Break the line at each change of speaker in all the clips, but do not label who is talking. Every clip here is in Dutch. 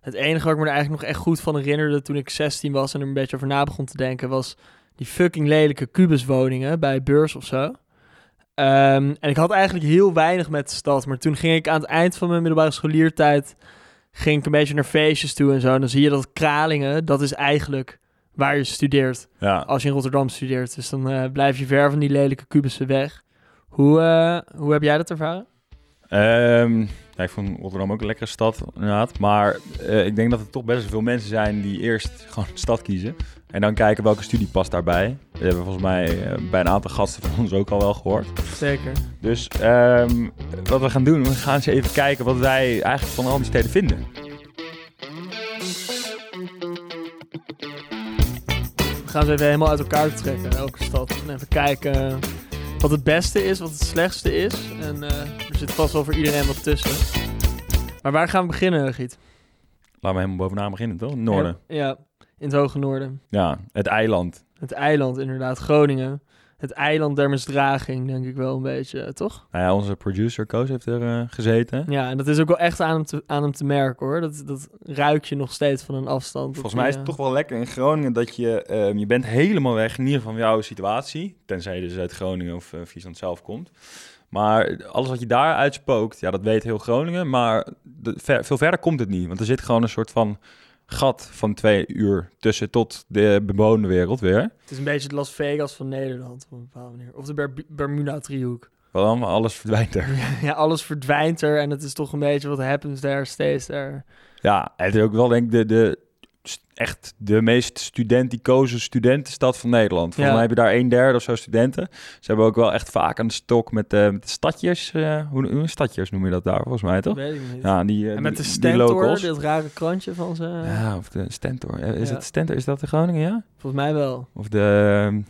Het enige wat ik me er eigenlijk nog echt goed van herinnerde toen ik 16 was en er een beetje over na begon te denken, was die fucking lelijke kubuswoningen bij beurs of zo. Ehm, en ik had eigenlijk heel weinig met de stad, maar toen ging ik aan het eind van mijn middelbare scholiertijd, ging ik een beetje naar feestjes toe en zo. En dan zie je dat Kralingen, dat is eigenlijk waar je studeert
Ja.
als je in Rotterdam studeert. Dus dan eh, blijf je ver van die lelijke kubussen weg. Hoe, eh, hoe heb jij dat ervaren?
Ehm, ja, ik vond Rotterdam ook een lekkere stad, inderdaad. Maar eh, ik denk dat er toch best wel veel mensen zijn die eerst gewoon de stad kiezen. En dan kijken welke studie past daarbij. Dat hebben we volgens mij eh, bij een aantal gasten van ons ook al wel gehoord.
Zeker.
Dus ehm, wat we gaan doen, we gaan eens even kijken wat wij eigenlijk van al die steden vinden.
We gaan ze even helemaal uit elkaar trekken, elke stad. En even kijken wat het beste is, wat het slechtste is. En eh, er zit vast wel voor iedereen wat tussen. Maar waar gaan we beginnen, Giet?
Laten we helemaal bovenaan beginnen, toch? Noorden.
Ja, in het hoge noorden.
Ja, het eiland.
Het eiland inderdaad, Groningen. Het eiland der misdraging, denk ik wel een beetje, eh, toch?
Nou ja, onze producer Koos heeft er eh, gezeten.
Ja, en dat is ook wel echt aan hem te, aan hem te merken, hoor. Dat, dat ruik je nog steeds van een afstand.
Volgens mij is het toch wel lekker in Groningen dat je, ehm, je bent helemaal weg, in ieder geval van jouw situatie. Tenzij je dus uit Groningen of eh, Friesland zelf komt. Maar alles wat je daar uitspookt, ja, dat weet heel Groningen. Maar de- ver- veel verder komt het niet. Want er zit gewoon een soort van gat van twee uur tussen tot de bewoonde wereld weer.
Het is een beetje het Las Vegas van Nederland op een bepaalde manier. Of de Ber- Bermuda-driehoek.
Want dan alles verdwijnt er.
ja, alles verdwijnt er en het is toch een beetje wat happens daar steeds daar.
Ja, het is ook wel denk ik de, de, st- echt de meest studenticoze studentenstad van Nederland. Volgens
Ja.
mij hebben daar een derde of zo studenten. Ze hebben ook wel echt vaak aan de stok met, eh, met de stadjes. eh, hoe, hoe stadjes noem je dat daar volgens mij,
Dat
toch?
weet ik niet.
Ja, die, eh,
en met de
die- die
Stentor,
locals.
dit rare krantje van ze.
Ja, of de Stentor. Eh, Is
Ja.
het Stentor? Is dat de Groningen, ja?
Volgens mij wel.
Of de... ehm,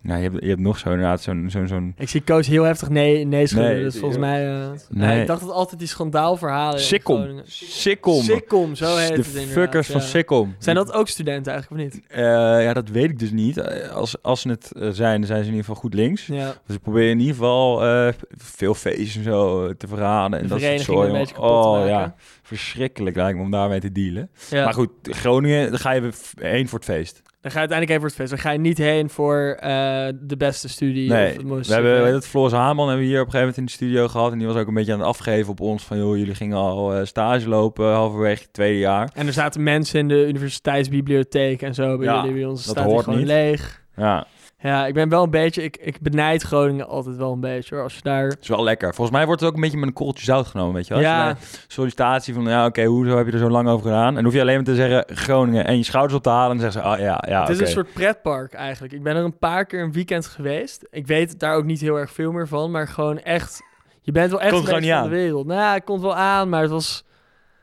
nou, je hebt, je hebt nog zo inderdaad zo'n... zo'n zo'n
Ik zie Coach heel heftig nee, nee schudden,
Nee,
dus
die-
volgens mij... eh,
Nee.
nee, ik dacht dat altijd die schandaalverhalen... in
Sikkom.
Groningen-
Sikkom.
Sikkom, zo heet
De
het inderdaad.
fuckers van
ja.
Sikkom.
Zijn dat ook studenten eigenlijk, of niet?
Eh, ja, dat weet ik dus niet. Eh, Als, als ze het eh, zijn, dan zijn ze in ieder geval goed links.
Ja,
Dus ik probeer in ieder geval eh, veel feesten en zo eh, te verraden.
de
En dat soort
vereniging een
zooi,
beetje
jongen.
kapot te
Oh
maken.
ja, verschrikkelijk lijkt me om daarmee te dealen.
Ja.
Maar goed, Groningen, dan ga je weer f- heen voor het feest.
Dan ga je uiteindelijk even voor het feest. Dan ga je niet heen voor eh, de beste studie. of
nee,
het
we
mooiste
hebben
studie.
weet het, Floris Haman hebben we hier op een gegeven moment in de studio gehad. En die was ook een beetje aan het afgeven op ons. Van joh, jullie gingen al eh, stage lopen halverwege het tweede jaar.
En er zaten mensen in de universiteitsbibliotheek en zo bij
Ja,
jullie. Bij ons
dat
staat die
hoort
gewoon
niet.
leeg.
Ja,
Ja, ik ben wel een beetje... Ik, ik benijd Groningen altijd wel een beetje hoor. Als je daar...
het is wel lekker. Volgens mij wordt het ook een beetje met een korreltje zout genomen, weet je wel. Als je
ja,
bij een sollicitatie van, ja oké, hoezo heb je er zo lang over gedaan? En dan hoef je alleen maar te zeggen Groningen en je schouders op te halen. En dan zeggen ze, ah ja, ja,
het is
oké.
een soort pretpark eigenlijk. Ik ben er een paar keer een weekend geweest. Ik weet daar ook niet heel erg veel meer van. Maar gewoon echt... Je bent wel echt
Komt
een
gewoon
beetje
niet
van de wereld. Nou ja, het komt wel aan, maar het was...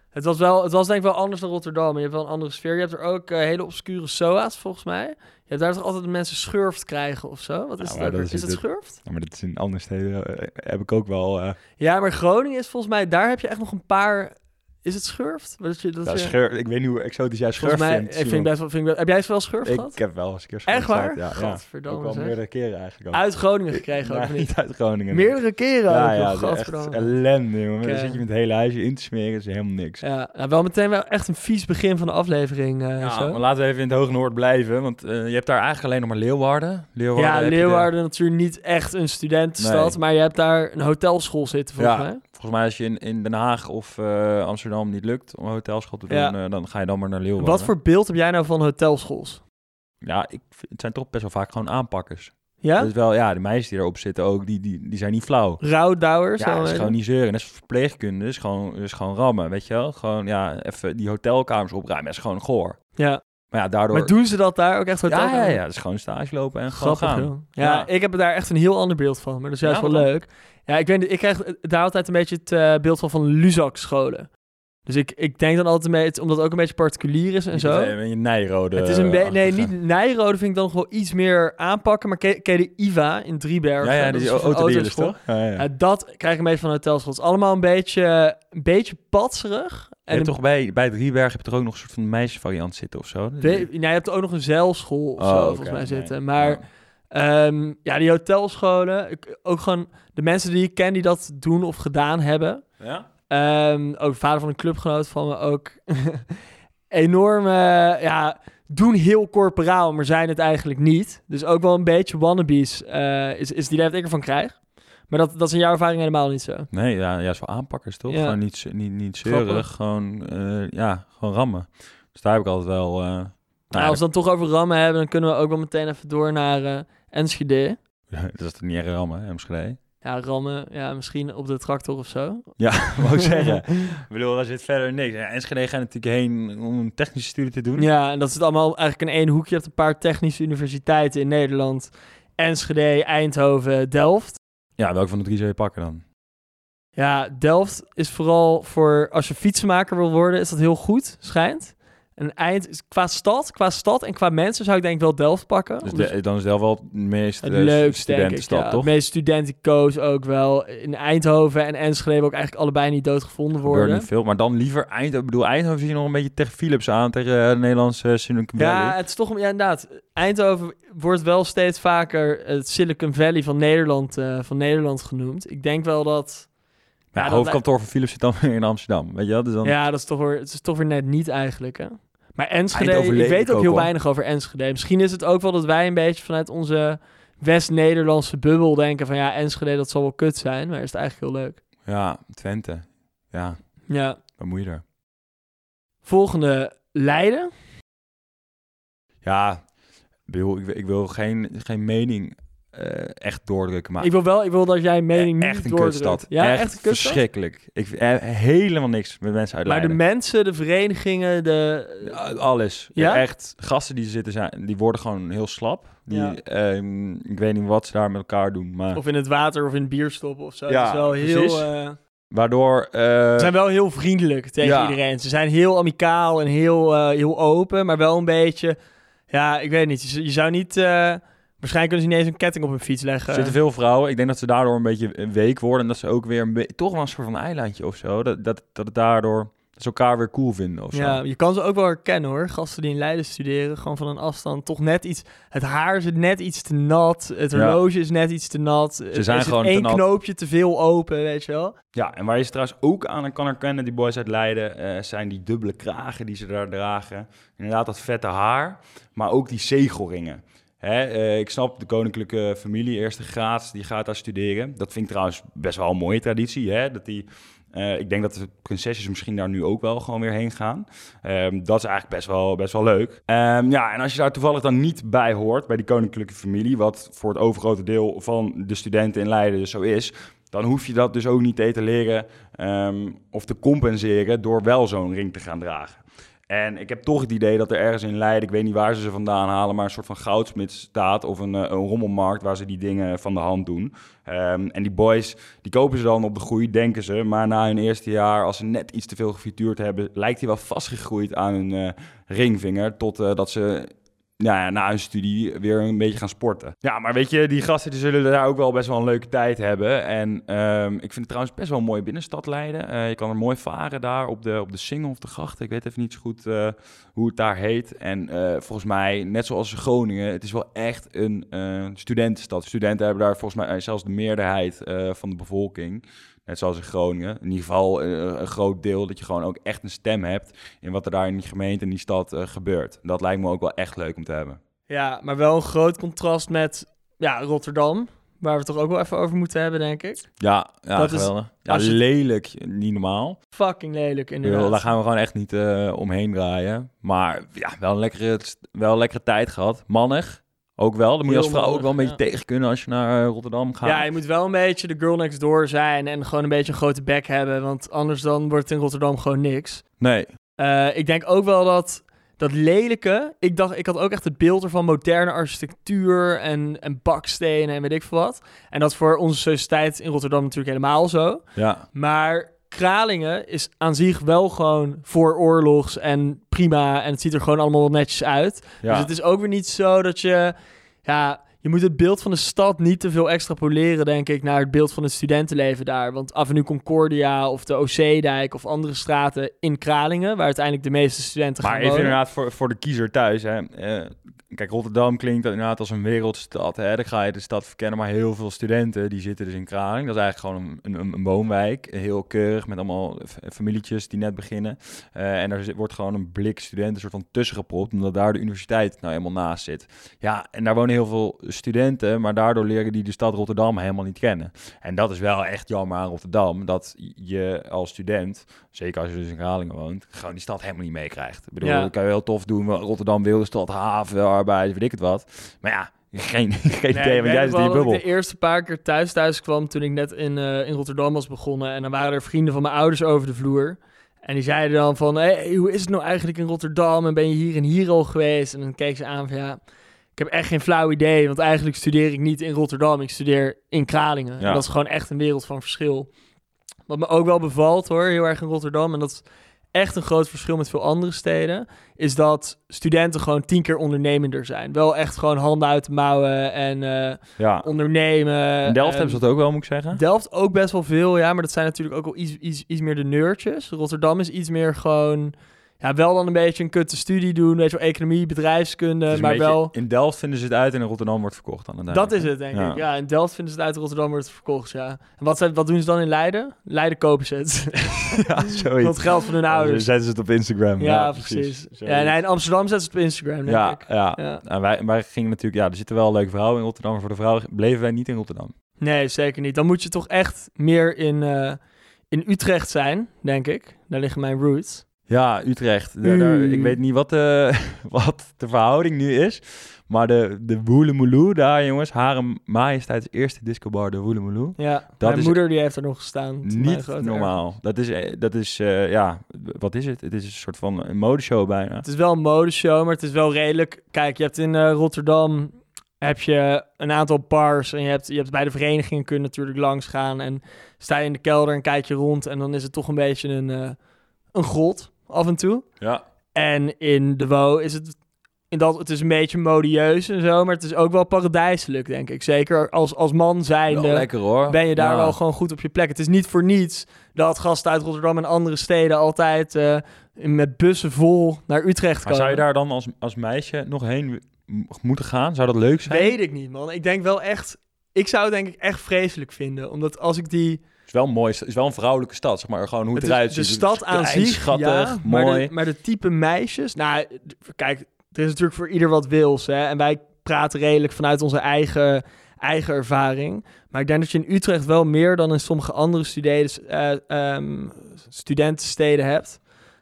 Het was, wel, het was denk ik wel anders dan Rotterdam. Je hebt wel een andere sfeer. Je hebt er ook eh, hele obscure SOA's, volgens mij. Je hebt daar toch altijd dat mensen schurft krijgen of zo? Wat
Ja,
is
maar
dat?
dat
Is,
is
is het
het-
schurft?
Ja, maar dat is in andere steden eh, heb ik ook wel. eh
Ja, maar Groningen is volgens mij, daar heb je echt nog een paar. Is het schurft? Dat je, dat
ja,
je-
scheur, ik weet niet hoe exotisch jij schurft
volgens mij,
vindt.
ik vind
Simon.
best wel, vind ik best- heb jij wel schurft gehad?
ik heb wel eens een keer schurft.
Echt waar?
gehad, Ja, ja. Ook
Gadverdamme.
wel
zeg.
meerdere keren eigenlijk. Ook.
Uit Groningen gekregen
Ja,
ook niet.
uit Groningen.
Meerdere keren.
Ja,
ook,
ja,
joh,
dat is echt
gadverdamme.
ellende, jongen. Dan
Oké.
zit je met het hele huisje in te smeren, is helemaal niks.
Ja, nou, wel meteen wel echt een vies begin van de aflevering. eh,
Ja,
zo.
Nou, maar laten we even in het Hoge Noord blijven, want eh, je hebt daar eigenlijk alleen nog maar Leeuwarden. Leeuwarden
ja
heb je de-
Leeuwarden natuurlijk niet echt een studentenstad,
Nee.
maar je hebt daar een hotelschool zitten volgens
Ja.
mij.
volgens mij als je in, in Den Haag of eh, Amsterdam niet lukt om een hotelschool te doen,
Ja.
eh, dan ga je dan maar naar Leeuwarden.
Wat voor beeld heb jij nou van hotelschools?
Ja, ik, vind- het zijn toch best wel vaak gewoon aanpakkers.
Ja?
Dus wel, ja, de meisjes die erop zitten ook, die, die, die zijn niet flauw.
Rouwdouwers?
Ja,
zo
dat is
heet
gewoon niet zeuren. Dat is verpleegkunde, dat is gewoon, dat is gewoon rammen, weet je wel? Gewoon, ja, even die hotelkamers opruimen, dat is gewoon goor.
het? Ja.
Maar ja, daardoor...
Maar doen ze dat daar ook echt hotel?
ja, ja, ja, dat is gewoon stage lopen en gewoon gaan.
joh. Ja,
Ja.
ik heb daar echt een heel ander beeld van, maar dat is juist
Ja,
wel
waarom?
leuk. Ja, ik, weet, niet, ik krijg eh, daar altijd een beetje het eh, beeld van van Luzak-scholen. Dus ik, ik denk dan altijd een beetje, omdat het ook een beetje particulier is en
Niet eh,
zo.
met, eh, met je Nijrode.
het is een beetje, nee,
achtige.
niet Nijrode vind ik dan nog wel iets meer aanpakken, maar ken ken je de IVA in Driebergen?
Ja, ja,
Dat
die
is een soort
autodealers
autoschool.
toch? Ja, ja.
Ja, dat krijg ik een beetje van hotelschool. Het is allemaal een beetje, een beetje patserig.
en
een
toch bij, bij Driebergen heb je toch ook nog een soort van meisjesvariant zitten of zo?
be- nou, je hebt ook nog een zeilschool of
Oh,
zo,
oké,
volgens mij
nee.
zitten. Maar
Ja.
Ehm, ja, die hotelscholen. ik- Ook gewoon de mensen die ik ken die dat doen of gedaan hebben.
Ja?
Ehm, ook vader van een clubgenoot van me ook. enorme, ja, doen heel corporaal, maar zijn het eigenlijk niet. Dus ook wel een beetje wannabes eh, is, is die dat ik ervan krijg. Maar dat, dat is in jouw ervaring helemaal niet zo.
Nee, ja, juist wel aanpakkers toch?
Ja.
Gewoon niet, ze- niet, niet zeurig,
Grappig.
gewoon, eh, ja, gewoon rammen. Dus daar heb ik altijd wel... eh, nou ja,
Nou, als we het dan toch over rammen hebben, dan kunnen we ook wel meteen even door naar eh, Enschede.
dat is toch niet echt rammen, hè, Enschede?
Ja, rammen, ja, misschien op de tractor of zo.
Ja, wou ik zeggen. ik bedoel, daar zit verder niks. Ja, Enschede gaat natuurlijk heen om een technische studie te doen.
Ja, en dat zit allemaal eigenlijk in één hoekje. Je hebt een paar technische universiteiten in Nederland. Enschede, Eindhoven, Delft.
Ja, welke van de drie zou je pakken dan?
Ja, Delft is vooral voor als je fietsenmaker wil worden, is dat heel goed, schijnt. En eind is qua stad, qua stad en qua mensen zou ik denk ik wel Delft pakken.
Dus
Omdat-
de- dan is Delft wel het meest
het
eh,
leukste, denk ik.
studentenstad,
ja.
toch?
De meeste studentenco's ook wel. In Eindhoven en Enschede ook eigenlijk allebei niet doodgevonden
Gebeurt
worden.
niet veel, maar dan liever Eindhoven. Ik bedoel, Eindhoven zie je nog een beetje tegen Philips aan, tegen eh, de Nederlandse Silicon Valley.
Ja, het is toch... Ja, inderdaad. Eindhoven wordt wel steeds vaker het Silicon Valley van Nederland, eh, van Nederland genoemd. Ik denk wel dat...
Maar
Ja,
ja,
dat
hoofdkantoor van Philips zit dan weer in Amsterdam. Weet je wel? Dus dan,
Ja, dat is toch weer, het is toch weer net niet eigenlijk, hè? Maar Enschede,
Eindhoven
ik
leef
weet
ik
ook,
ook
heel
al.
weinig over Enschede. Misschien is het ook wel dat wij een beetje vanuit onze West-Nederlandse bubbel denken van... Ja, Enschede, dat zal wel kut zijn, maar is het eigenlijk heel leuk.
ja, Twente. Ja,
Ja.
wat moet je er?
Volgende, Leiden.
Ja, ik bedoel, ik, wil- ik wil geen, geen mening eh, echt doordrukken, maar E,
ik, wil wel, ik wil dat jij een mening
echt
niet
een
doordrukt.
kutstad.
Ja, echt,
echt,
een kutstad.
verschrikkelijk. Ik eh, helemaal niks met mensen uit
Maar de
Leiden.
mensen, de verenigingen, de...
Ja, Alles.
Ja?
Echt, gasten die er zitten zijn, die worden gewoon heel slap. Die,
Ja.
ehm, ik weet niet wat ze daar met elkaar doen, maar
Of in het water of in het bier stoppen of zo.
Ja,
het is wel
precies.
heel, eh,
waardoor... eh,
ze zijn wel heel vriendelijk tegen
Ja.
iedereen. Ze zijn heel amicaal en heel, eh, heel open, maar wel een beetje... Ja, ik weet niet. Je, je zou niet... eh, waarschijnlijk kunnen ze niet eens een ketting op hun fiets leggen.
Er zitten veel vrouwen. Ik denk dat ze daardoor een beetje eh, week worden. En dat ze ook weer een be- toch wel een soort van eilandje of zo. Dat, dat, dat het daardoor dat ze elkaar weer cool vinden of zo.
Ja, je kan ze ook wel herkennen hoor. Gasten die in Leiden studeren, gewoon van een afstand. Toch net iets. Het haar zit net iets te nat. Het
Ja.
horloge is net iets te nat. Ze
zijn
er zit
gewoon te
één
nat.
knoopje te veel open, weet je wel.
Ja, en waar je ze trouwens ook aan kan herkennen, die boys uit Leiden, eh, zijn die dubbele kragen die ze daar dragen. Inderdaad, dat vette haar, maar ook die zegelringen. Hè, eh, ik snap de koninklijke familie, eerste graad, die gaat daar studeren. Dat vind ik trouwens best wel een mooie traditie. Hè? Dat die, eh, ik denk dat de prinsesjes misschien daar nu ook wel gewoon weer heen gaan. Ehm, dat is eigenlijk best wel, best wel leuk. Ehm, ja, en als je daar toevallig dan niet bij hoort, bij die koninklijke familie, wat voor het overgrote deel van de studenten in Leiden dus zo is, dan hoef je dat dus ook niet te etaleren ehm, of te compenseren door wel zo'n ring te gaan dragen. En ik heb toch het idee dat er ergens in Leiden, ik weet niet waar ze ze vandaan halen, maar een soort van goudsmid staat of een, eh, een rommelmarkt waar ze die dingen van de hand doen. Ehm, en die boys, die kopen ze dan op de groei, denken ze. Maar na hun eerste jaar, als ze net iets te veel gefrituurd hebben, lijkt die wel vastgegroeid aan hun eh, ringvinger. Totdat dat ze nou ja, na hun studie weer een beetje gaan sporten. Ja, maar weet je, die gasten die zullen daar ook wel best wel een leuke tijd hebben. En ehm, ik vind het trouwens best wel een mooie binnenstad Leiden. Eh, je kan er mooi varen daar op de, op de Singel of de Grachten. Ik weet even niet zo goed eh, hoe het daar heet. En eh, volgens mij, net zoals Groningen, het is wel echt een eh, studentenstad. Studenten hebben daar volgens mij eh, zelfs de meerderheid eh, van de bevolking. Net zoals in Groningen. In ieder geval eh, een groot deel dat je gewoon ook echt een stem hebt in wat er daar in die gemeente en die stad eh, gebeurt. Dat lijkt me ook wel echt leuk om te hebben.
Ja, maar wel een groot contrast met ja, Rotterdam. Waar we het toch ook wel even over moeten hebben, denk ik.
Ja, ja
Dat is-
geweldig. ja,
als je-
lelijk, niet normaal.
Fucking lelijk,
Ik bedoel,
inderdaad.
daar gaan we gewoon echt niet eh, omheen draaien. Maar ja, wel een lekkere, wel een lekkere tijd gehad. Mannig, ook wel. Dan moet je
Heel
als vrouw ook wel een
mannig,
beetje tegen kunnen als je naar eh, Rotterdam gaat.
Ja, je moet wel een beetje de girl next door zijn en gewoon een beetje een grote bek hebben. Want anders dan wordt het in Rotterdam gewoon niks.
Nee,
Eh, ik denk ook wel dat dat lelijke. Ik dacht, ik had ook echt het beeld ervan moderne architectuur en, en bakstenen en weet ik veel wat. En dat is voor onze sociëteit in Rotterdam natuurlijk helemaal zo.
ja.
Maar Kralingen is aan zich wel gewoon vooroorlogs en prima. En het ziet er gewoon allemaal wel netjes uit.
ja.
Dus het is ook weer niet zo dat je. Ja, je moet het beeld van de stad niet te veel extrapoleren, denk ik, naar het beeld van het studentenleven daar. Want Avenue Concordia of de OC-dijk of andere straten in Kralingen, waar uiteindelijk de meeste studenten
Maar
gaan
even
wonen.
inderdaad voor, voor de kiezer thuis. Hè. Eh, Kijk, Rotterdam klinkt inderdaad als een wereldstad. Hè? Dan ga je de stad verkennen, maar heel veel studenten die zitten dus in Kraling. Dat is eigenlijk gewoon een, een, een woonwijk, heel keurig, met allemaal f- familietjes die net beginnen. Eh, en er zit- wordt gewoon een blik studenten soort van tussen gepropt, omdat daar de universiteit nou helemaal naast zit. Ja, en daar wonen heel veel studenten, maar daardoor leren die de stad Rotterdam helemaal niet kennen. En dat is wel echt jammer aan Rotterdam, dat je als student, zeker als je dus in Kralingen woont, gewoon die stad helemaal niet meekrijgt. Ik bedoel,
Ja.
dat kan je heel tof doen, wel, Rotterdam wil de stad, haven, arbeid, weet ik het wat. Maar ja, geen, geen
Nee,
idee,
ik
want jij
weet
zit in
wel
die
dat ik
bubbel.
de eerste paar keer thuis thuis kwam toen ik net in, eh, in Rotterdam was begonnen. En dan waren er vrienden van mijn ouders over de vloer. En die zeiden dan van, hey, hoe is het nou eigenlijk in Rotterdam? En ben je hier en hier al geweest? En dan keek ze aan van, ja, ik heb echt geen flauw idee. Want eigenlijk studeer ik niet in Rotterdam, ik studeer in Kralingen.
Ja.
En dat is gewoon echt een wereld van verschil. Wat me ook wel bevalt hoor, heel erg in Rotterdam. En dat is echt een groot verschil met veel andere steden is dat studenten gewoon tien keer ondernemender zijn. Wel echt gewoon handen uit de mouwen en eh,
Ja,
ondernemen.
in Delft
en-
hebben ze dat ook wel, moet ik zeggen.
Delft ook best wel veel, ja, maar dat zijn natuurlijk ook al iets, iets, iets meer de nerdjes. Rotterdam is iets meer gewoon, ja, wel dan een beetje een kutte studie doen, weet je wel, economie, bedrijfskunde,
Het is een
maar
beetje-
wel...
In Delft vinden ze het uit en in Rotterdam wordt verkocht dan
Dat
uiteindelijk.
is het, denk
Ja.
ik. Ja, in Delft vinden ze het uit, Rotterdam wordt het verkocht, ja. En wat, zijn- wat doen ze dan in Leiden? Leiden kopen ze het.
ja, zoiets.
Want geld van hun
Dan
ouders.
zetten ze het op Instagram.
nou, Ja, precies.
Zoiets.
Ja, nee, in Amsterdam zetten ze het op Instagram, denk
ja,
ik.
ja.
Ja.
En wij, wij gingen natuurlijk, ja, er zitten wel leuke vrouwen in Rotterdam. maar Voor de vrouwen bleven wij niet in Rotterdam.
Nee, zeker niet. Dan moet je toch echt meer in, eh, in Utrecht zijn, denk ik. Daar liggen mijn roots.
Ja, Utrecht. Daar- daar-
Mm.
ik weet niet wat de, wat de verhouding nu is. Maar de, de Woelemoeloe daar, jongens. Hare majesteits eerste discobar, de Woelemoeloe.
Ja,
Dat
mijn
is-
moeder die heeft er nog gestaan. toen mijn
Niet
grote erf.
normaal. Dat is, eh, dat is eh, ja, wat is het? Het is een soort van een modeshow bijna.
Het is wel een modeshow, maar het is wel redelijk... Kijk, je hebt in eh, Rotterdam heb je een aantal bars. En je hebt, je hebt bij de verenigingen kun je natuurlijk langs gaan. En sta je in de kelder en kijk je rond. En dan is het toch een beetje een, eh, een grot af en toe.
Ja.
En in de WO is het, in dat, het is een beetje modieus en zo, maar het is ook wel paradijselijk, denk ik. Zeker als, als man
Wel
zijnde
lekker hoor.
ben je daar
Ja.
wel gewoon goed op je plek. Het is niet voor niets dat gasten uit Rotterdam en andere steden altijd eh, met bussen vol naar Utrecht
Maar
komen.
zou je daar dan als, als meisje nog heen w- m- moeten gaan? Zou dat leuk zijn?
Weet ik niet, man. Ik denk wel echt... Ik zou het denk ik echt vreselijk vinden, omdat als ik die...
Het is wel een mooi, het is wel een vrouwelijke stad, zeg maar. Gewoon hoe het,
Het is
eruit
de
ziet.
stad
Klein,
aan zich,
schattig,
ja,
mooi.
Maar de, maar de type meisjes, nou, d- kijk, er is natuurlijk voor ieder wat wils, hè. En wij praten redelijk vanuit onze eigen, eigen ervaring. Maar ik denk dat je in Utrecht wel meer dan in sommige andere studenten, eh, ehm, studentensteden hebt,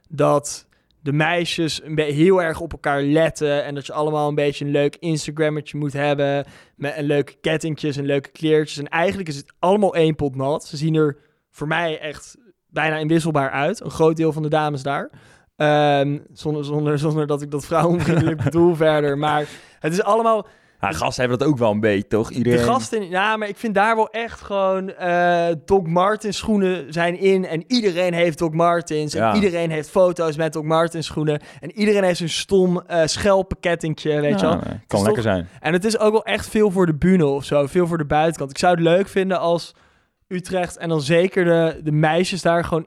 dat de meisjes een be- heel erg op elkaar letten en dat je allemaal een beetje een leuk Instagrammetje moet hebben met en leuke kettingjes en leuke kleertjes. En eigenlijk is het allemaal één pot nat. Ze zien er voor mij echt bijna inwisselbaar uit. Een groot deel van de dames daar. Ehm, zonder, zonder, zonder dat ik dat vrouwenvriendelijk bedoel verder. Maar het is allemaal...
Ja, Nou, gasten hebben dat ook wel een beetje, toch?
De
Iedereen...
gasten... Ja, maar ik vind daar wel echt gewoon... eh, Doc Martens schoenen zijn in. En iedereen heeft Doc Martens. En
Ja.
iedereen heeft foto's met Doc Martens schoenen. En iedereen heeft zo'n stom eh schelpenkettingje, weet je wel.
Ja, nee,
toch-
kan lekker zijn.
En het is ook wel echt veel voor de bühne of zo. Veel voor de buitenkant. Ik zou het leuk vinden als Utrecht en dan zeker de, de meisjes daar gewoon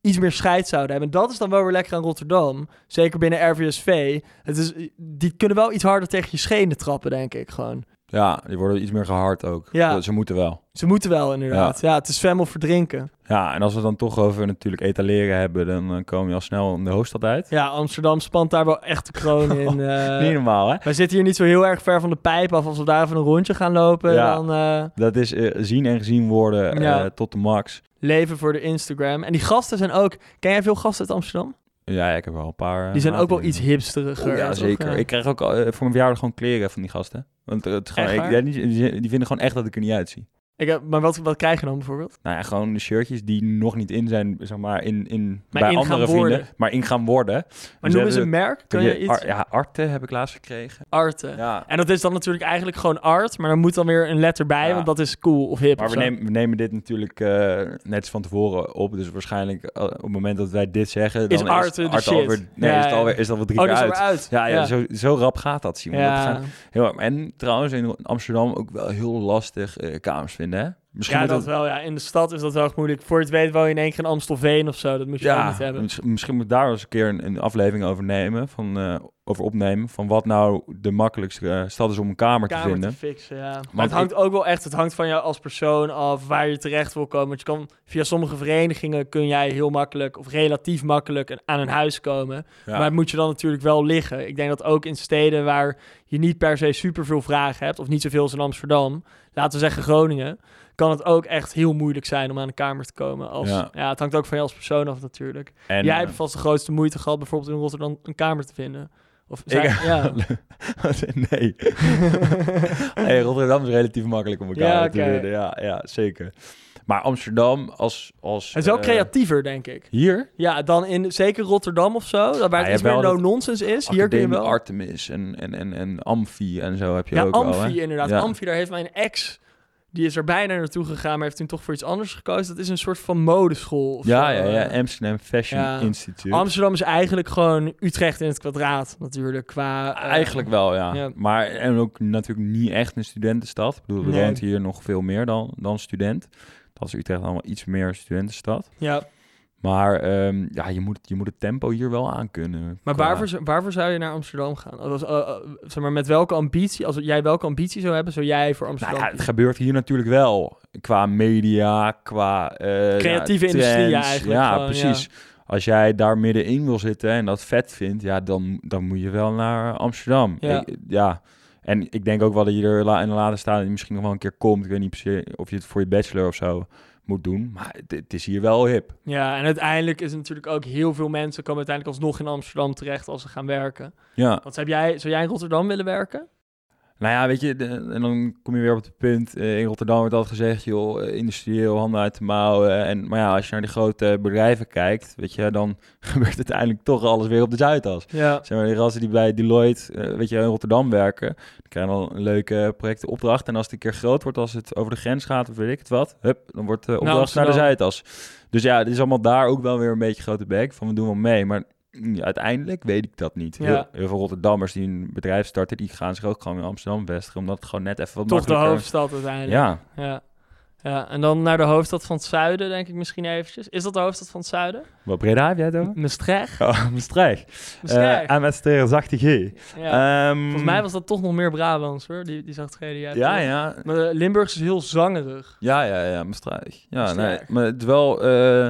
iets meer scheid zouden hebben. En dat is dan wel weer lekker aan Rotterdam. Zeker binnen RVSV. Het is, die kunnen wel iets harder tegen je schenen trappen, denk ik gewoon.
Ja, die worden iets meer gehard ook.
Ja.
Ze moeten wel.
Ze moeten wel inderdaad. Ja, het is zwemmen of verdrinken.
Ja, en als we het dan toch over natuurlijk etaleren hebben, dan eh, komen je al snel in de hoofdstad uit.
Ja, Amsterdam spant daar wel echt de kroon in. eh.
Niet normaal, hè?
wij zitten hier niet zo heel erg ver van de pijp af. Als we daar even een rondje gaan lopen,
Ja.
dan... eh,
Dat is eh, zien en gezien worden eh,
Ja.
tot de max.
Leven voor de Instagram. En die gasten zijn ook... Ken jij veel gasten uit Amsterdam?
Ja, ik heb wel een paar. eh,
Die zijn ook wel
maten.
iets hipsteriger.
Oh, ja,
toch?
zeker.
Ja.
Ik krijg ook eh, voor mijn verjaardag gewoon kleren van die gasten. Want eh, het is gewoon,
Echt
ik-
waar?
ja, die, die- die vinden gewoon echt dat ik er niet uitzie.
Ik heb, maar wat, wat krijg je dan bijvoorbeeld?
Nou ja, gewoon de shirtjes die nog niet in zijn, zeg maar, in, in,
Maar
bij
in gaan
andere vrienden.
worden.
Maar in gaan worden.
Maar
Dus
noem eens
hebben-
een merk. Kun je
Ja,
iets?
Ar- ja, Arte heb ik laatst gekregen.
Arte.
Ja.
En dat is dan natuurlijk eigenlijk gewoon art, maar dan moet dan weer een letter bij,
Ja.
want dat is cool of hip
Maar
of
we
zo.
nemen, we nemen dit natuurlijk eh, net van tevoren op. Dus waarschijnlijk eh, op het moment dat wij dit zeggen... Dan
Is Arte de shit?
alweer, nee,
Ja,
is het
ja.
alweer, is dat wel drie
Oh,
keer
dat is er
uit.
weer uit.
Ja, ja, Zo, zo rap gaat dat, Simon.
Ja.
Dat gaat heel erg. En trouwens, in Amsterdam ook wel heel lastig eh, kamers vinden, hè? Misschien
Ja,
moet
dat wel. Ja. In de stad is dat wel echt moeilijk. Voor je het weet woon je in één keer in Amstelveen of zo. Dat moet je ook niet hebben.
miss- misschien moet ik daar eens een keer een, een aflevering over nemen. Van eh, over opnemen. Van wat nou de makkelijkste eh, stad is om een kamer, te
kamer
vinden.
te fixen, ja. Maar
Want
het hangt ook wel echt, het hangt van jou als persoon af waar je terecht wil komen. Want je kan, via sommige verenigingen kun jij heel makkelijk of relatief makkelijk een- aan een huis komen.
Ja.
Maar het moet je dan natuurlijk wel liggen. Ik denk dat ook in steden waar je niet per se superveel vragen hebt, of niet zoveel als in Amsterdam, laten we zeggen Groningen, kan het ook echt heel moeilijk zijn om aan een kamer te komen. Als, ja.
Ja.
het hangt ook van jou als persoon af natuurlijk.
En,
jij
eh,
hebt vast de grootste moeite gehad bijvoorbeeld in Rotterdam een kamer te vinden. Of, zijn- ja.
nee. nee. Rotterdam is relatief makkelijk om elkaar
Ja,
te
oké.
vinden. Ja, ja, zeker. Maar Amsterdam als... als
Het is wel
eh,
creatiever, denk ik.
Hier?
Ja, dan in zeker Rotterdam of zo, dat waar
Ah,
het
je
iets
hebt
meer
wel dat
no-nonsense is. Hier kun je
Academie
wel.
Artemis en, en, en, en Amfi en zo heb je
ja,
ook
Amfi
wel, hè?
inderdaad.
Ja.
Amfi, daar heeft mijn ex, die is er bijna naartoe gegaan, maar heeft toen toch voor iets anders gekozen. Dat is een soort van modeschool. of
Ja,
zo.
ja, ja. Amsterdam Fashion
Ja.
Institute.
Amsterdam is eigenlijk gewoon Utrecht in het kwadraat natuurlijk. Qua, eh,
Eigenlijk wel, ja.
ja.
Maar en ook natuurlijk niet echt een studentenstad. Ik bedoel, er
Nee.
woont hier nog veel meer dan, dan student. Dat is Utrecht allemaal iets meer een studentenstad.
Ja,
Maar ehm, ja, je moet, je moet het tempo hier wel aankunnen.
maar
Qua-
waarvoor, zou- waarvoor zou je naar Amsterdam gaan? Als, eh, eh, zeg maar, met welke ambitie, als jij welke ambitie zou hebben, zou jij voor Amsterdam
Nou ja, het gebeurt hier natuurlijk wel. Qua media, qua... eh,
Creatieve
ja,
industrie
trends.
eigenlijk
Ja,
gewoon,
precies. Als jij daar middenin wil zitten en dat vet vindt, ja, dan, dan moet je wel naar Amsterdam.
Ja.
Ik- ja. En ik denk ook wel dat je er la- in een later stadium misschien nog wel een keer komt. Ik weet niet precies of je het voor je bachelor of zo moet doen. Maar het, het is hier wel hip.
Ja, en uiteindelijk is het natuurlijk ook heel veel mensen komen uiteindelijk alsnog in Amsterdam terecht als ze gaan werken.
Ja.
Want heb jij, zou jij in Rotterdam willen werken?
Nou ja, weet je, de- en dan kom je weer op het punt. eh, in Rotterdam wordt altijd gezegd, joh, eh, industrieel, handen uit de mouwen. eh, En, maar ja, als je naar die grote bedrijven kijkt, weet je, dan gebeurt uiteindelijk toch alles weer op de Zuidas.
Ja.
Zeg maar, die gasten die bij Deloitte, eh, weet je, in Rotterdam werken, die krijgen dan een leuke projectopdracht. En als het een keer groot wordt, als het over de grens gaat of weet ik het wat, hup, dan wordt de opdracht naar de
Nou, Amsterdam.
Zuidas. Dus ja, het is allemaal daar ook wel weer een beetje grote bek van, we doen wel mee. Maar mm, uiteindelijk weet ik dat niet.
Ja.
Heel, heel veel Rotterdammers die een bedrijf starten, die gaan zich ook gewoon in Amsterdam vestigen, omdat het gewoon net even wat
Toch de
makkelijker...
hoofdstad uiteindelijk.
Ja,
Ja. ja. en dan naar de hoofdstad van het zuiden, denk ik misschien eventjes. Is dat de hoofdstad van het zuiden?
wat Breda heb jij het over?
Maastricht?
Oh, Maastricht.
Maastricht.
en met zachte G.
ja.
Ehm,
Volgens mij was dat toch nog meer Brabants, hoor. Die, die zag het jij hebt,
Ja,
toch?
ja,
Maar eh, Limburg is heel zangerig.
Ja, ja, ja, Maastricht. Ja,
Maastricht.
nee. Maar het is wel... eh,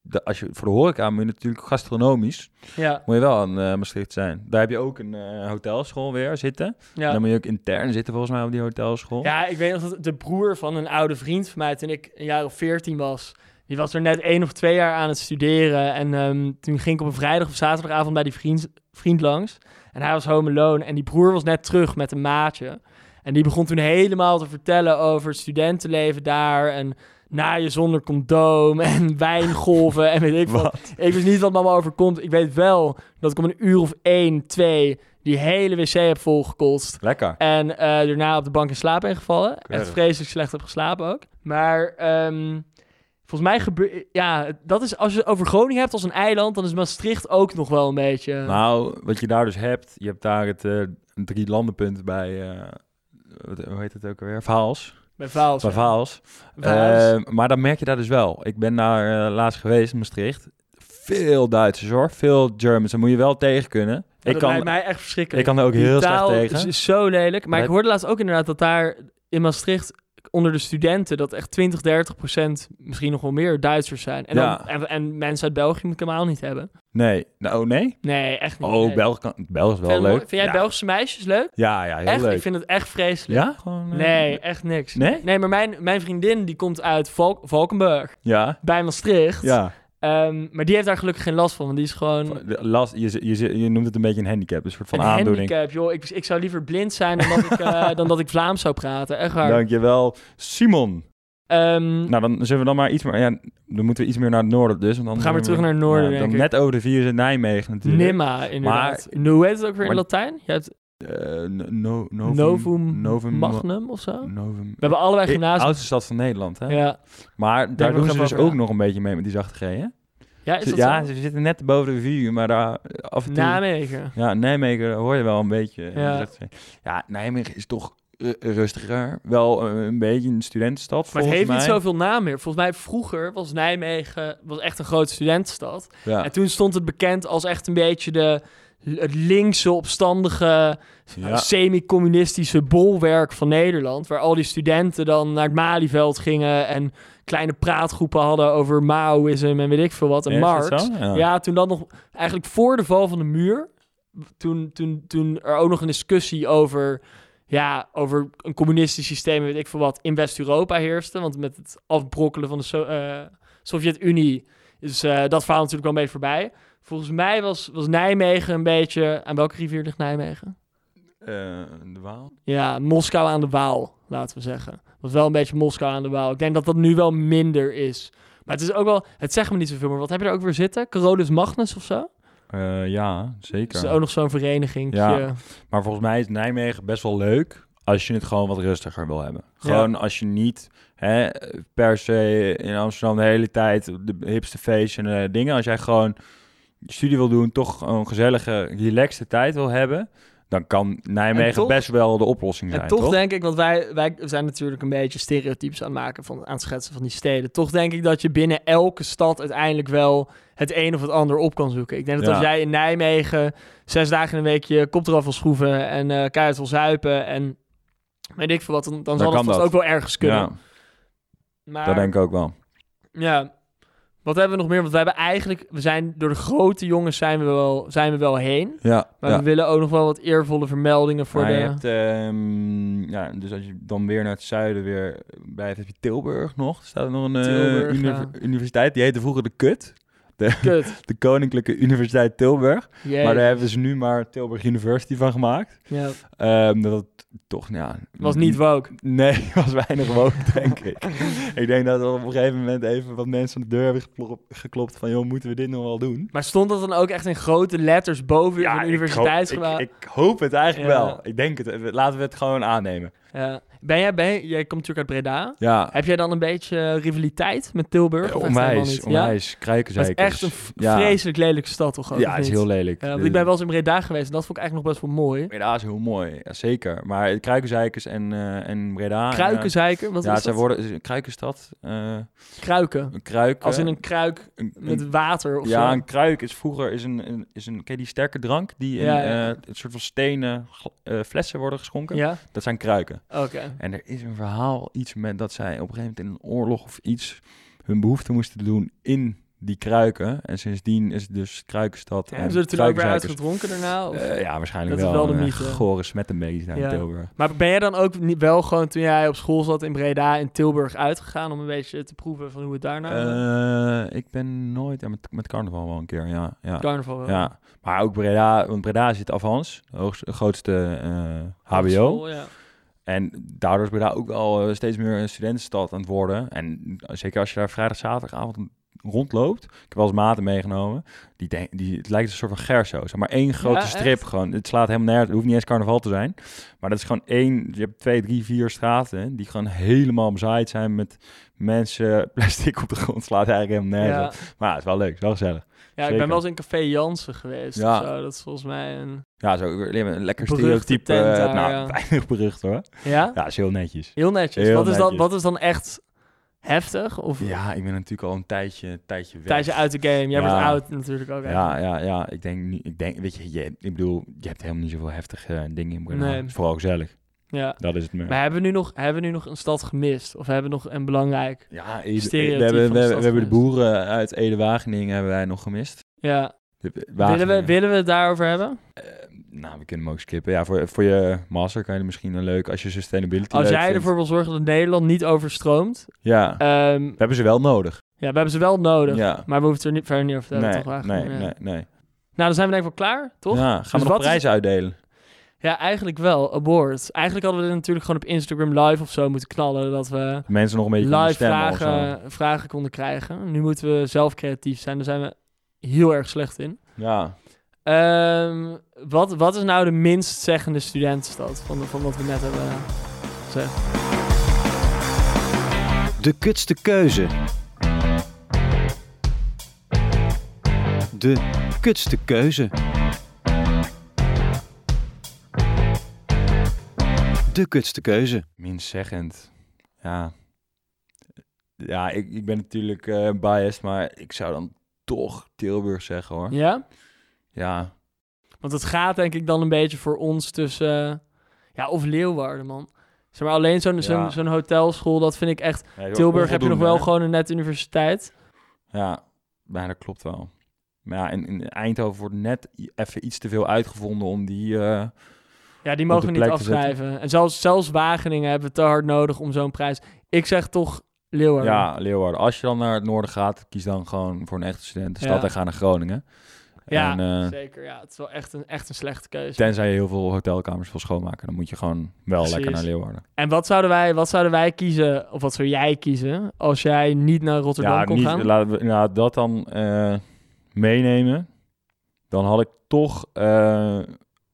de, als je, voor de horeca moet je natuurlijk gastronomisch...
Ja,
moet je wel aan eh, Maastricht zijn. Daar heb je ook een eh, hotelschool weer zitten. En
ja.
dan moet je ook intern zitten volgens mij op die hotelschool.
Ja, ik weet nog dat de broer van een oude vriend van mij, toen ik een jaar of veertien was, die was er net één of twee jaar aan het studeren. En ehm, toen ging ik op een vrijdag of zaterdagavond bij die vriend, vriend langs. En hij was home alone. En die broer was net terug met een maatje. En die begon toen helemaal te vertellen over het studentenleven daar. En naaien zonder condoom. En wijngolven. en weet ik wat.
Wat?
Ik wist niet wat me allemaal overkomt. Ik weet wel dat ik om een uur of één, twee die hele wc heb volgekotst.
Lekker.
En eh, daarna op de bank in slaap ben gevallen. Echt
Keurig.
vreselijk slecht heb geslapen ook. Maar ehm, volgens mij gebeurt... Ja, dat is, als je het over Groningen hebt als een eiland... dan is Maastricht ook nog wel een beetje...
Nou, wat je daar dus hebt... Je hebt daar het eh, drie landenpunt bij... eh, wat- hoe heet het ook alweer? Vaals.
bij Vaals.
Bij Vaals.
Vaals.
Eh, maar dat merk je daar dus wel. Ik ben daar eh, laatst geweest in Maastricht. Veel Duitsers hoor. Veel Germans. Daar moet je wel tegen kunnen.
Ja,
ik
dat
kan
lijkt mij echt verschrikkelijk.
Ik kan er ook
Die
heel slecht
taal
tegen.
is, is zo lelijk. Maar
Maar
ik
heb-
hoorde laatst ook inderdaad dat daar in Maastricht onder de studenten dat echt 20, 30 procent, misschien nog wel meer Duitsers zijn. En,
Ja.
dan, en, en mensen uit België moet ik helemaal niet hebben.
Nee. Nou, oh, nee?
Nee, echt niet.
Oh,
nee.
Belg, kan, Belg is wel
Vind je dat
leuk.
mooi? Vind jij
ja.
Belgische meisjes leuk?
Ja, ja, heel
echt,
leuk.
ik vind het echt vreselijk.
Ja? Gewoon, eh,
Nee, echt niks.
Nee?
Nee, maar mijn, mijn vriendin die komt uit Valk- Valkenburg,
Ja.
bij Maastricht.
Ja.
Ehm, maar die heeft daar gelukkig geen last van, want die is gewoon...
De Last, je, z- je, z- je noemt het een beetje een handicap, een soort van
een
aandoening.
handicap, joh. Ik, ik zou liever blind zijn dan dat, ik, eh, dan dat ik Vlaams zou praten. Echt waar.
Dankjewel, Simon.
Ehm,
Nou, dan zullen we dan maar iets meer... Ja, dan moeten we iets meer naar het noorden dus. Want dan
we gaan weer terug naar het noorden,
Ja,
denk
dan
ik.
Net over de vier is in Nijmegen natuurlijk.
Nimma, inderdaad. Nu hoe heet het ook weer in
maar-
Latijn? Je hebt
Eh, no, no, novum,
Novum,
novum
Magnum of zo? We
Novum...
hebben allebei
Eh,
gymnasium.
oudste stad van Nederland, hè?
Ja.
Maar daar
we
doen ze
gaan
dus
over
ook
na.
nog een beetje mee met die zachte G, hè?
ja, is dat
ja,
zo? Nou,
ze zitten net boven de vier, maar daar eh, af en toe...
Nijmegen.
Ja, Nijmegen hoor je wel een beetje. eh,
Ja.
zegt ze. ja Nijmegen is toch eh, rustiger. Wel eh, een beetje een studentenstad,
Maar het
volgens
heeft
mij.
niet zoveel naam meer. Volgens mij vroeger was Nijmegen was echt een grote studentenstad.
Ja.
En toen stond het bekend als echt een beetje de, het linkse, opstandige,
Ja.
semi-communistische bolwerk van Nederland. Waar al die studenten dan naar het Malieveld gingen en kleine praatgroepen hadden over Maoïsme en weet ik veel wat. En
Is dat
Marx.
zo? Ja.
Ja, toen dat nog eigenlijk voor de val van de muur, toen, toen, toen er ook nog een discussie over, ja, over een communistisch systeem, weet ik veel wat, in West-Europa heerste. Want met het afbrokkelen van de So- eh, Sovjet-Unie is eh, dat verhaal natuurlijk wel een beetje voorbij. Volgens mij was, was Nijmegen een beetje. Aan welke rivier ligt Nijmegen?
Eh, de Waal?
Ja, Moskou aan de Waal, laten we zeggen. Was wel een beetje Moskou aan de Waal. Ik denk dat dat nu wel minder is. Maar het is ook wel, het zegt me niet zoveel, maar wat heb je er ook weer zitten? Carolus Magnus of zo?
Eh, ja, zeker.
Het is ook nog zo'n vereniging.
Ja. Maar volgens mij is Nijmegen best wel leuk als je het gewoon wat rustiger wil hebben. Gewoon als je niet hè, per se in Amsterdam de hele tijd de hipste feesten en eh, dingen. Als jij gewoon je studie wil doen, toch een gezellige, relaxte tijd wil hebben, dan kan Nijmegen
En toch-
best wel de oplossing zijn,
En toch,
toch?
denk ik, want wij, wij zijn natuurlijk een beetje stereotypes aan het maken, van, aan het schetsen van die steden. Toch denk ik dat je binnen elke stad uiteindelijk wel het een of het ander op kan zoeken. Ik denk dat
Ja.
als jij in Nijmegen zes dagen in een week je kop eraf wil schroeven en eh keihard wil zuipen en weet ik veel wat, dan, dan, zal
kan
dat vast
dat.
ook wel ergens kunnen.
Ja,
maar,
dat denk ik ook wel.
Ja. Wat hebben we nog meer? Want we hebben eigenlijk, we zijn door de grote jongens zijn we wel, zijn we wel heen.
Ja,
Maar
ja.
we willen ook nog wel wat eervolle vermeldingen voor
Maar
de...
je hebt, ehm, ja, dus als je dan weer naar het zuiden weer blijft, heb je Tilburg nog. Er staat nog een eh,
Tilburg,
uni-
ja.
universiteit, die heette vroeger de KUT.
Kut.
De Koninklijke Universiteit Tilburg.
Jee.
Maar eh, daar hebben ze nu maar Tilburg University van gemaakt.
Ja.
Ehm, dat het toch, nou ja...
Was niet woke.
Nee, was weinig woke, denk ik. Ik denk dat er op een gegeven moment even wat mensen aan de deur hebben geplop- geklopt van... joh, moeten we dit nog wel doen?
Maar stond dat dan ook echt in grote letters boven ja,
ik
universiteitsgebouw?
hoop- Ik, ik hoop het eigenlijk
Ja.
wel. Ik denk het. Laten we het gewoon aannemen.
Ja. Ben jij, ben jij, jij komt natuurlijk uit Breda.
Ja, Eh,
Heb jij dan een beetje eh, rivaliteit met Tilburg? Of echt helemaal
onwijs,
niet?
onwijs.
Ja? Maar
Kruikenzeikers.
Het is echt een v-
Ja.
vreselijk lelijke stad toch ook?
Ja,
of
het is
niet?
heel lelijk.
Ja, want ik ben wel eens in Breda geweest en dat vond ik eigenlijk nog best wel mooi.
Breda is heel mooi, ja, zeker. Maar Kruikenzeikers en, eh, en Breda... en, eh,
Kruikenzeiker, wat
ja,
is
zij
dat?
worden... een Kruikenstad... eh,
Kruiken.
Een kruik.
Als in
eh,
een kruik
een- een-
met water of
ja,
zo.
een kruik is vroeger is een, een- is een ken je die sterke drank die in
Ja, ja.
eh, een soort van stenen gl- eh, flessen worden geschonken.
Ja,
Dat zijn kruiken.
oké.
En er is een verhaal iets met dat zij op een gegeven moment in een oorlog of iets hun behoefte moesten doen in die kruiken. En sindsdien is het dus kruikenstad.
Ja,
en
hebben ze er toen ook weer
kruikenzuikers.
uitgedronken daarna? Of?
Eh, ja, waarschijnlijk
Dat is
wel.
wel de
een eh,
mythe.
gore smettenbeest daar
Ja.
in Tilburg.
Maar ben jij dan ook niet wel gewoon toen jij op school zat in Breda in Tilburg uitgegaan om een beetje te proeven van hoe het daarna
Eh, ik ben nooit... Ja, met, met carnaval wel een keer, ja. ja.
carnaval wel.
Ja, maar ook Breda, want Breda zit Avans, de hoogst- de grootste eh, HBO.
School, ja.
En daardoor is Breda ook wel eh, steeds meer een studentenstad aan het worden. En eh, zeker als je daar vrijdag, zaterdagavond rondloopt. Ik heb wel eens maten meegenomen. Die denk, die, het lijkt een soort van gerso. Zeg maar één grote
Ja, echt?
strip gewoon. Het slaat helemaal nergens. Het hoeft niet eens carnaval te zijn. Maar dat is gewoon één. Je hebt twee, drie, vier straten. Die gewoon helemaal bezaaid zijn met mensen. Plastic op de grond slaat eigenlijk helemaal nergens.
Ja.
op. Maar ja, het is wel leuk. Het is wel gezellig.
Ja, ik ben
Zeker.
wel eens in Café Jansen geweest.
Ja.
of zo. Dat is volgens mij een.
Ja, zo weer een lekker
Beruchte
stereotype.
tent
eh,
daar,
nou,
ja.
weinig berucht hoor.
Ja,
Ja, is heel netjes.
heel netjes.
Heel
wat, Is dan,
netjes.
wat is dan echt heftig? Of
Ja, ik ben natuurlijk al een tijdje, tijdje weg.
tijdens je uit de game? Jij
Ja.
wordt oud natuurlijk ook.
ja, ja, ja, ik denk niet. Ik denk, weet je, je, ik bedoel, je hebt helemaal niet zoveel heftige eh, dingen in Breda.
Nee.
Het is Vooral gezellig.
ja.
Dat is het meer.
Maar hebben we, nu nog, hebben we nu nog een stad gemist? Of hebben we nog een belangrijk?
ja, Ede- we
stereotype
hebben,
van
we,
de
hebben- we hebben de
stad gemist.
boeren uit Ede-Wageningen hebben wij nog gemist.
Ja.
De-
Willen we,
Wageningen.
willen we het daarover hebben?
Eh, nou, we kunnen hem ook skippen. Ja, voor, voor je master kan je er misschien een leuk als je sustainability.
Als
leuk
jij
vindt.
ervoor wil zorgen dat Nederland niet overstroomt.
Ja, we
ehm,
hebben ze wel nodig.
ja, we hebben ze wel nodig.
Ja.
Maar we hoeven het er niet, verder niet over te
Nee,
hebben.
nee,
toch eigenlijk?
nee,
Ja. Nou,
nee,
dan zijn we denk ik wel klaar, toch? Dus
Ja, gaan we nog
wat is-
prijzen uitdelen?
Ja, eigenlijk wel. Abort. Eigenlijk hadden we dit natuurlijk gewoon op Instagram live of zo moeten knallen. Dat we
mensen nog een beetje konden
live
stemmen of zo.
vragen, vragen konden krijgen. Nu moeten we zelf creatief zijn. Daar zijn we heel erg slecht in.
Ja.
Ehm, wat, wat is nou de minst zeggende studentenstad van, van wat we net hebben gezegd?
De kutste keuze. De kutste keuze. De kutste keuze.
Minstzeggend. Ja. Ja, ik, ik ben natuurlijk eh, biased, maar ik zou dan toch Tilburg zeggen hoor. Ja.
Ja? Want het gaat denk ik dan een beetje voor ons tussen... eh, ja, of Leeuwarden, man. Zeg maar, alleen zo'n
Ja.
zo'n zo'n hotelschool, dat vind ik echt...
Nee,
Tilburg heb je nog wel
onvoldoende,
gewoon een net universiteit.
hè? Ja, maar dat klopt wel. Maar ja, in, in Eindhoven wordt net i- even iets te veel uitgevonden om die... eh,
Ja, die
Op
mogen
de
we niet
plek te zetten.
afschrijven. En zelfs, zelfs Wageningen hebben we te hard nodig om zo'n prijs. Ik zeg toch Leeuwarden.
ja, Leeuwarden. Als je dan naar het noorden gaat, kies dan gewoon voor een echte studentenstad
Ja.
en ga naar Groningen.
Ja,
En, eh,
zeker. Ja, het is wel echt een, echt een slechte keuze.
Tenzij je heel veel hotelkamers wil schoonmaken, dan moet je gewoon wel
Precies.
lekker naar Leeuwarden.
En wat zouden, wij, wat zouden wij kiezen, of wat zou jij kiezen, als jij niet naar Rotterdam kon
niet,
gaan?
laten we ja, dat dan eh, meenemen. Dan had ik toch eh,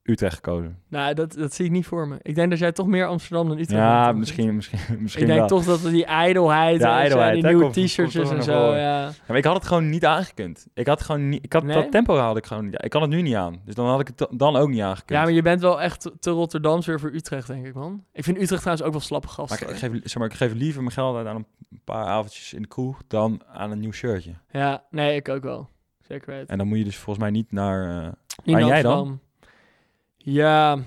Utrecht gekozen.
Nou, dat, dat zie ik niet voor me. Ik denk dat jij toch meer Amsterdam dan Utrecht bent,
ja,
toch?
misschien, misschien, misschien
Ik denk
wel.
toch dat we die ijdelheid,
Ja,
en zo,
ijdelheid, hè,
die nieuwe
komt- komt
t-shirts
toch
en
nog
zo.
wel.
Ja.
Ja, maar ik had het gewoon niet aangekund. Ik had gewoon niet, ik had
Nee?
dat tempo had ik gewoon niet. Ik kan het nu niet aan. Dus dan had ik het da- dan ook niet aangekund.
ja, maar je bent wel echt te Rotterdams weer voor Utrecht, denk ik, man. Ik vind Utrecht trouwens ook wel slappe gasten.
Maar ik, ik
hoor.
geef, zeg maar ik geef liever mijn geld uit aan een paar avondjes in de kroeg dan aan een nieuw shirtje.
Ja, nee, ik ook wel. Zeker weten.
En dan moet je dus volgens mij niet naar. eh,
Niet
Maar
naar
jij dan?
Amsterdam. Ja,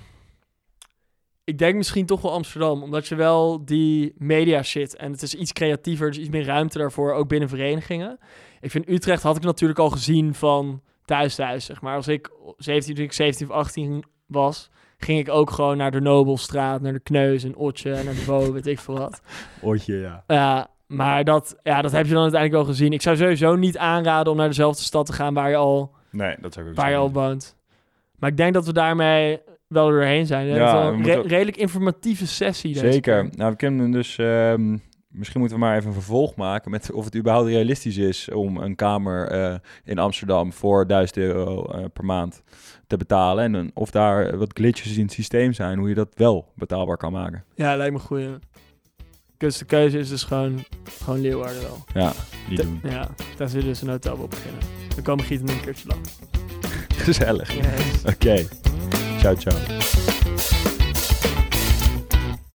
ik denk misschien toch wel Amsterdam, omdat je wel die media shit en het is iets creatiever, dus iets meer ruimte daarvoor, ook binnen verenigingen. Ik vind Utrecht had ik natuurlijk al gezien van thuis thuis, zeg maar. Als ik 17, toen ik 17 of 18 was, ging ik ook gewoon naar de Nobelstraat, naar de Kneus en Otje en naar de Bo, weet ik veel wat.
Oortje, ja.
Ja, maar dat, ja, dat heb je dan uiteindelijk wel gezien. Ik zou sowieso niet aanraden om naar dezelfde stad te gaan waar je al,
Nee, dat zou ik ook
waar je
zeggen.
al woont. Maar ik denk dat we daarmee wel er doorheen zijn. We
Ja,
hebben wel
we
een
moeten
re-
ook-
redelijk informatieve sessie. Deze
Zeker.
keer.
Nou, we kunnen dus. ehm, misschien moeten we maar even een vervolg maken met of het überhaupt realistisch is om een kamer eh, in Amsterdam voor 1000 euro eh, per maand te betalen. En een- of daar wat glitches in het systeem zijn, hoe je dat wel betaalbaar kan maken.
Ja, lijkt me goed. ja. Dus de keuze is dus gewoon, gewoon Leeuwarden wel.
Ja, die doen.
Ja, daar zullen we dus een hotel op beginnen. We komen gieten een keertje lang.
Gezellig.
Yes.
Oké. Ciao, ciao.